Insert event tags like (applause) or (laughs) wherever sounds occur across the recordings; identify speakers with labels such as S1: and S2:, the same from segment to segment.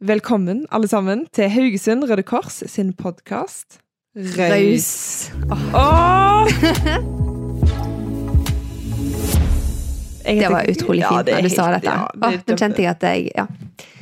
S1: Velkommen, alle sammen, til Haugesund Røde Kors sin podkast Raus.
S2: (laughs)
S1: Åh! Jeg
S2: Det
S1: heter-
S2: var utrolig
S1: Ja,
S2: fint
S1: det er
S2: når du sa
S1: helt-
S2: dette.
S1: ja, det er
S2: Åh, nå
S1: kjempe-
S2: kjente jeg at jeg Ja.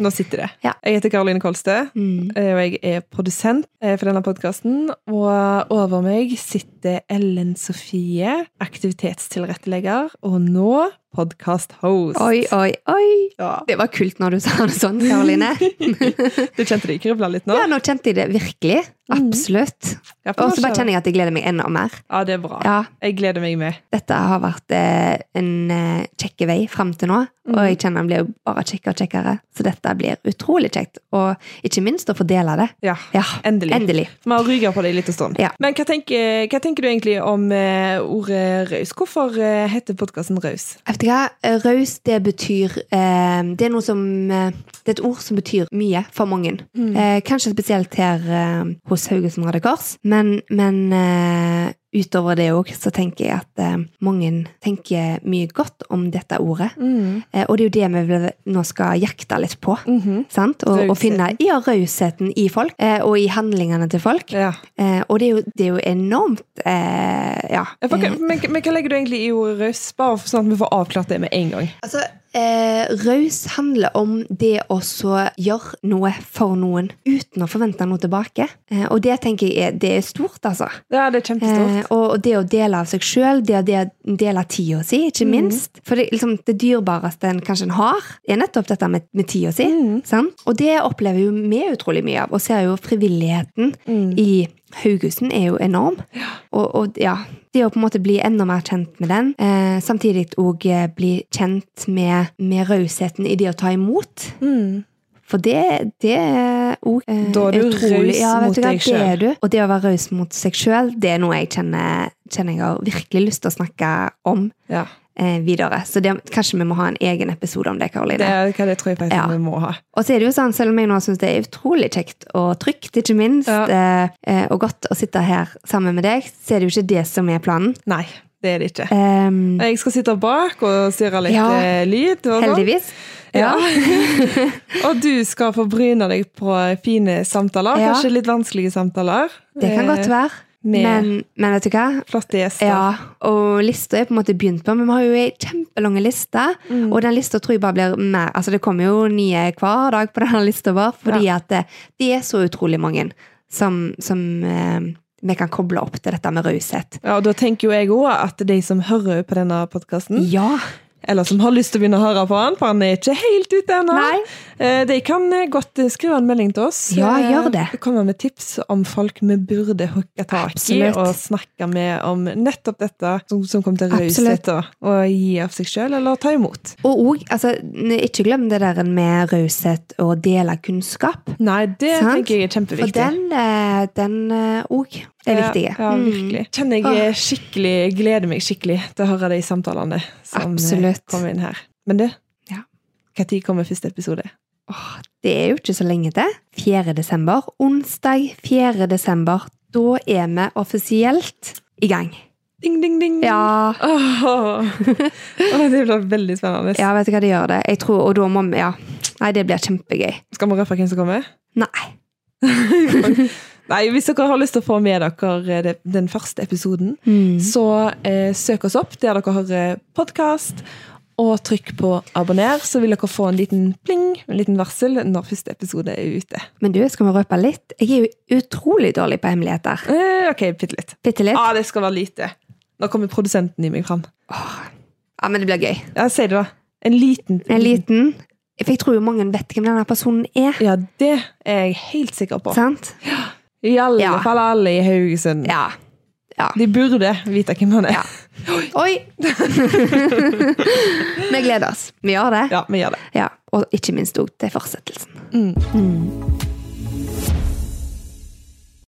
S1: Nå sitter det.
S2: Ja.
S1: Jeg heter Karoline Kolstø, eh, og jeg er produsent eh, for denne podkasten. Og over meg sitter Ellen Sofie, aktivitetstilrettelegger, og nå podkast-host.
S2: Oi, oi, oi.
S1: Ja.
S2: Det var kult når du sa det sånn,
S1: (laughs)
S2: Karoline.
S1: Du kjente det kribla litt nå?
S2: Ja, nå kjente jeg det virkelig.
S1: Mm.
S2: Absolutt.
S1: Ja, for
S2: Og
S1: nå
S2: så bare
S1: skjer det.
S2: kjenner jeg at jeg gleder meg enda mer.
S1: Ja, det er bra.
S2: Ja,
S1: Jeg gleder meg med.
S2: dette har vært eh, en eh, kjekke vei fram til nå, og
S1: Mm.
S2: jeg kjenner den blir jo bare kjekkere og kjekkere. Så dette blir utrolig kjekt, og ikke minst å få dele det.
S1: Ja,
S2: Ja,
S1: endelig.
S2: endelig.
S1: Vi har rygga på det litt en stund.
S2: Ja.
S1: Men hva tenker, hva tenker du egentlig om eh, ordet raus? Hvorfor eh, heter podkasten Raus?
S2: Vet du hva? Eh, Raus, det betyr eh, Det er noe som eh, Det er et ord som betyr mye for mange.
S1: Mm.
S2: Eh, kanskje spesielt her eh, hos Haugesund Røde Kors, men, men eh, utover det òg, så tenker jeg at eh, mange tenker mye godt om dette ordet.
S1: Mm.
S2: Eh, og det er jo det vi vil, nå skal jakte litt på. Sant? Og, og finne
S1: Rausheten.
S2: ja, rausheten i folk, eh, og i handlingene til folk.
S1: Ja.
S2: Eh, og det er jo, det er jo enormt eh, Ja.
S1: Ja, for
S2: eh,
S1: hva- Men, men hva legger du egentlig i ordet raus? Bare for sånn at vi får avklart det med en gang.
S2: Altså, eh, raus handler om det å så gjøre noe for noen uten å forvente noe tilbake. Eh, og det tenker jeg er, det er stort, altså.
S1: Ja, det er
S2: Eh,
S1: kjempestort.
S2: og og det å dele av seg sjøl, det å de- dele av tida si, ikke minst. For det, liksom, det dyrebareste en kanskje en har, er nettopp dette med, med tida si. Sant? Og det opplever jo vi utrolig mye av, og ser jo frivilligheten i Haugesund er jo enorm. Og, og ja, det å på en måte bli enda mer kjent med den, eh, samtidig òg eh, bli kjent med, med rausheten i det å ta imot.
S1: Mm.
S2: For det, det er òg eh,
S1: Da er du raus
S2: utrolig- vet
S1: mot
S2: du hva,
S1: deg
S2: det er
S1: selv.
S2: du. Og det å være raus mot seg sjøl, det er noe jeg kjenner, kjenner jeg har virkelig lyst til å snakke om
S1: Ja.
S2: eh, videre. Så det, kanskje vi må ha en egen episode om det, Karoline.
S1: Det er hva det tror jeg faktisk
S2: Ja.
S1: vi må ha.
S2: Og så er det jo sånn, selv om jeg nå syns det er utrolig kjekt og trygt, ikke minst,
S1: Ja.
S2: eh, eh, og godt å sitte her sammen med deg, så er det jo ikke det som er planen.
S1: Nei, det er det ikke.
S2: Ehm,
S1: Jeg skal sitte bak og styre litt
S2: Ja.
S1: eh, lyd. Og sånn.
S2: heldigvis.
S1: Ja. (laughs) og du skal få bryne deg på fine samtaler.
S2: Ja.
S1: Kanskje litt vanskelige samtaler.
S2: Det kan godt være.
S1: med-
S2: Men, men vet du hva?
S1: Flotte gjester.
S2: Ja, og lista er på en måte begynt på, men vi har jo ei kjempelang liste.
S1: Mm.
S2: Og den lista tror jeg bare blir mer Altså, det kommer jo nye hver dag på (laughs) denne lista vår, fordi at det, det er så utrolig mange som, som eh, vi kan koble opp til dette med raushet.
S1: Ja, og Da tenker jo jeg òg at de som hører på denne podkasten,
S2: Ja!
S1: eller som har lyst til å begynne å høre på han, for han er ikke helt ute ennå,
S2: Nei.
S1: eh, de kan eh, godt eh, skrive en melding til oss.
S2: Ja,
S1: eh,
S2: gjør det.
S1: og Komme med tips om folk vi burde hooke tak i
S2: Absolutt.
S1: og snakke med om nettopp dette som, som kom til
S2: Absolutt.
S1: raushet da, og gi av seg sjøl eller ta imot.
S2: Og òg, altså, n- ikke glem det der med raushet og dele kunnskap.
S1: Nei, det
S2: Sant?
S1: tenker jeg er
S2: For
S1: kjempeviktig.
S2: den eh, den òg er viktig. Mm.
S1: Ja, ja, virkelig. Kjenner jeg eh, skikkelig, jeg gleder meg skikkelig til å høre de samtalene som eh,
S2: Absolutt.
S1: kommer inn her. Men du,
S2: Ja.
S1: når kommer første episode?
S2: Åh, det er jo ikke så lenge til. 4. desember. Onsdag 4. desember. Da er vi offisielt i gang.
S1: Ding, ding, ding!
S2: Ja,
S1: Åh, Åh, det blir veldig spennende.
S2: ja vet du hva det gjør det? Jeg tror, og da må vi, ja. Nei, det blir kjempegøy.
S1: Skal vi røpe hvem som
S2: (laughs)
S1: kommer?
S2: Nei.
S1: Nei, Hvis dere har lyst til å få med dere eh, det- den første episoden,
S2: Mm.
S1: så eh, søk oss opp der dere hører podkast. Og trykk på abonner, så vil dere få en liten pling, en liten varsel når første episode er ute.
S2: Men du, skal vi røpe litt? Jeg er jo utrolig dårlig på hemmeligheter.
S1: Eh, ok, bitte litt.
S2: Bitte litt.
S1: Ja, ah, det skal være lite. Nå kommer produsenten i meg fram.
S2: Ja, men det blir gøy.
S1: Ja, Si det, da. En liten
S2: En liten. For jeg tror jo mange vet hvem denne personen er.
S1: Ja, det er jeg helt sikker på.
S2: Sant?
S1: I alle
S2: Ja.
S1: fall alle i Haugesund.
S2: Ja. Ja.
S1: De burde vite hvem han er.
S2: Ja. Oi! (laughs) vi gleder oss. Vi gjør det.
S1: Ja, vi gjør det.
S2: Ja, og ikke minst òg til fortsettelsen. Mm.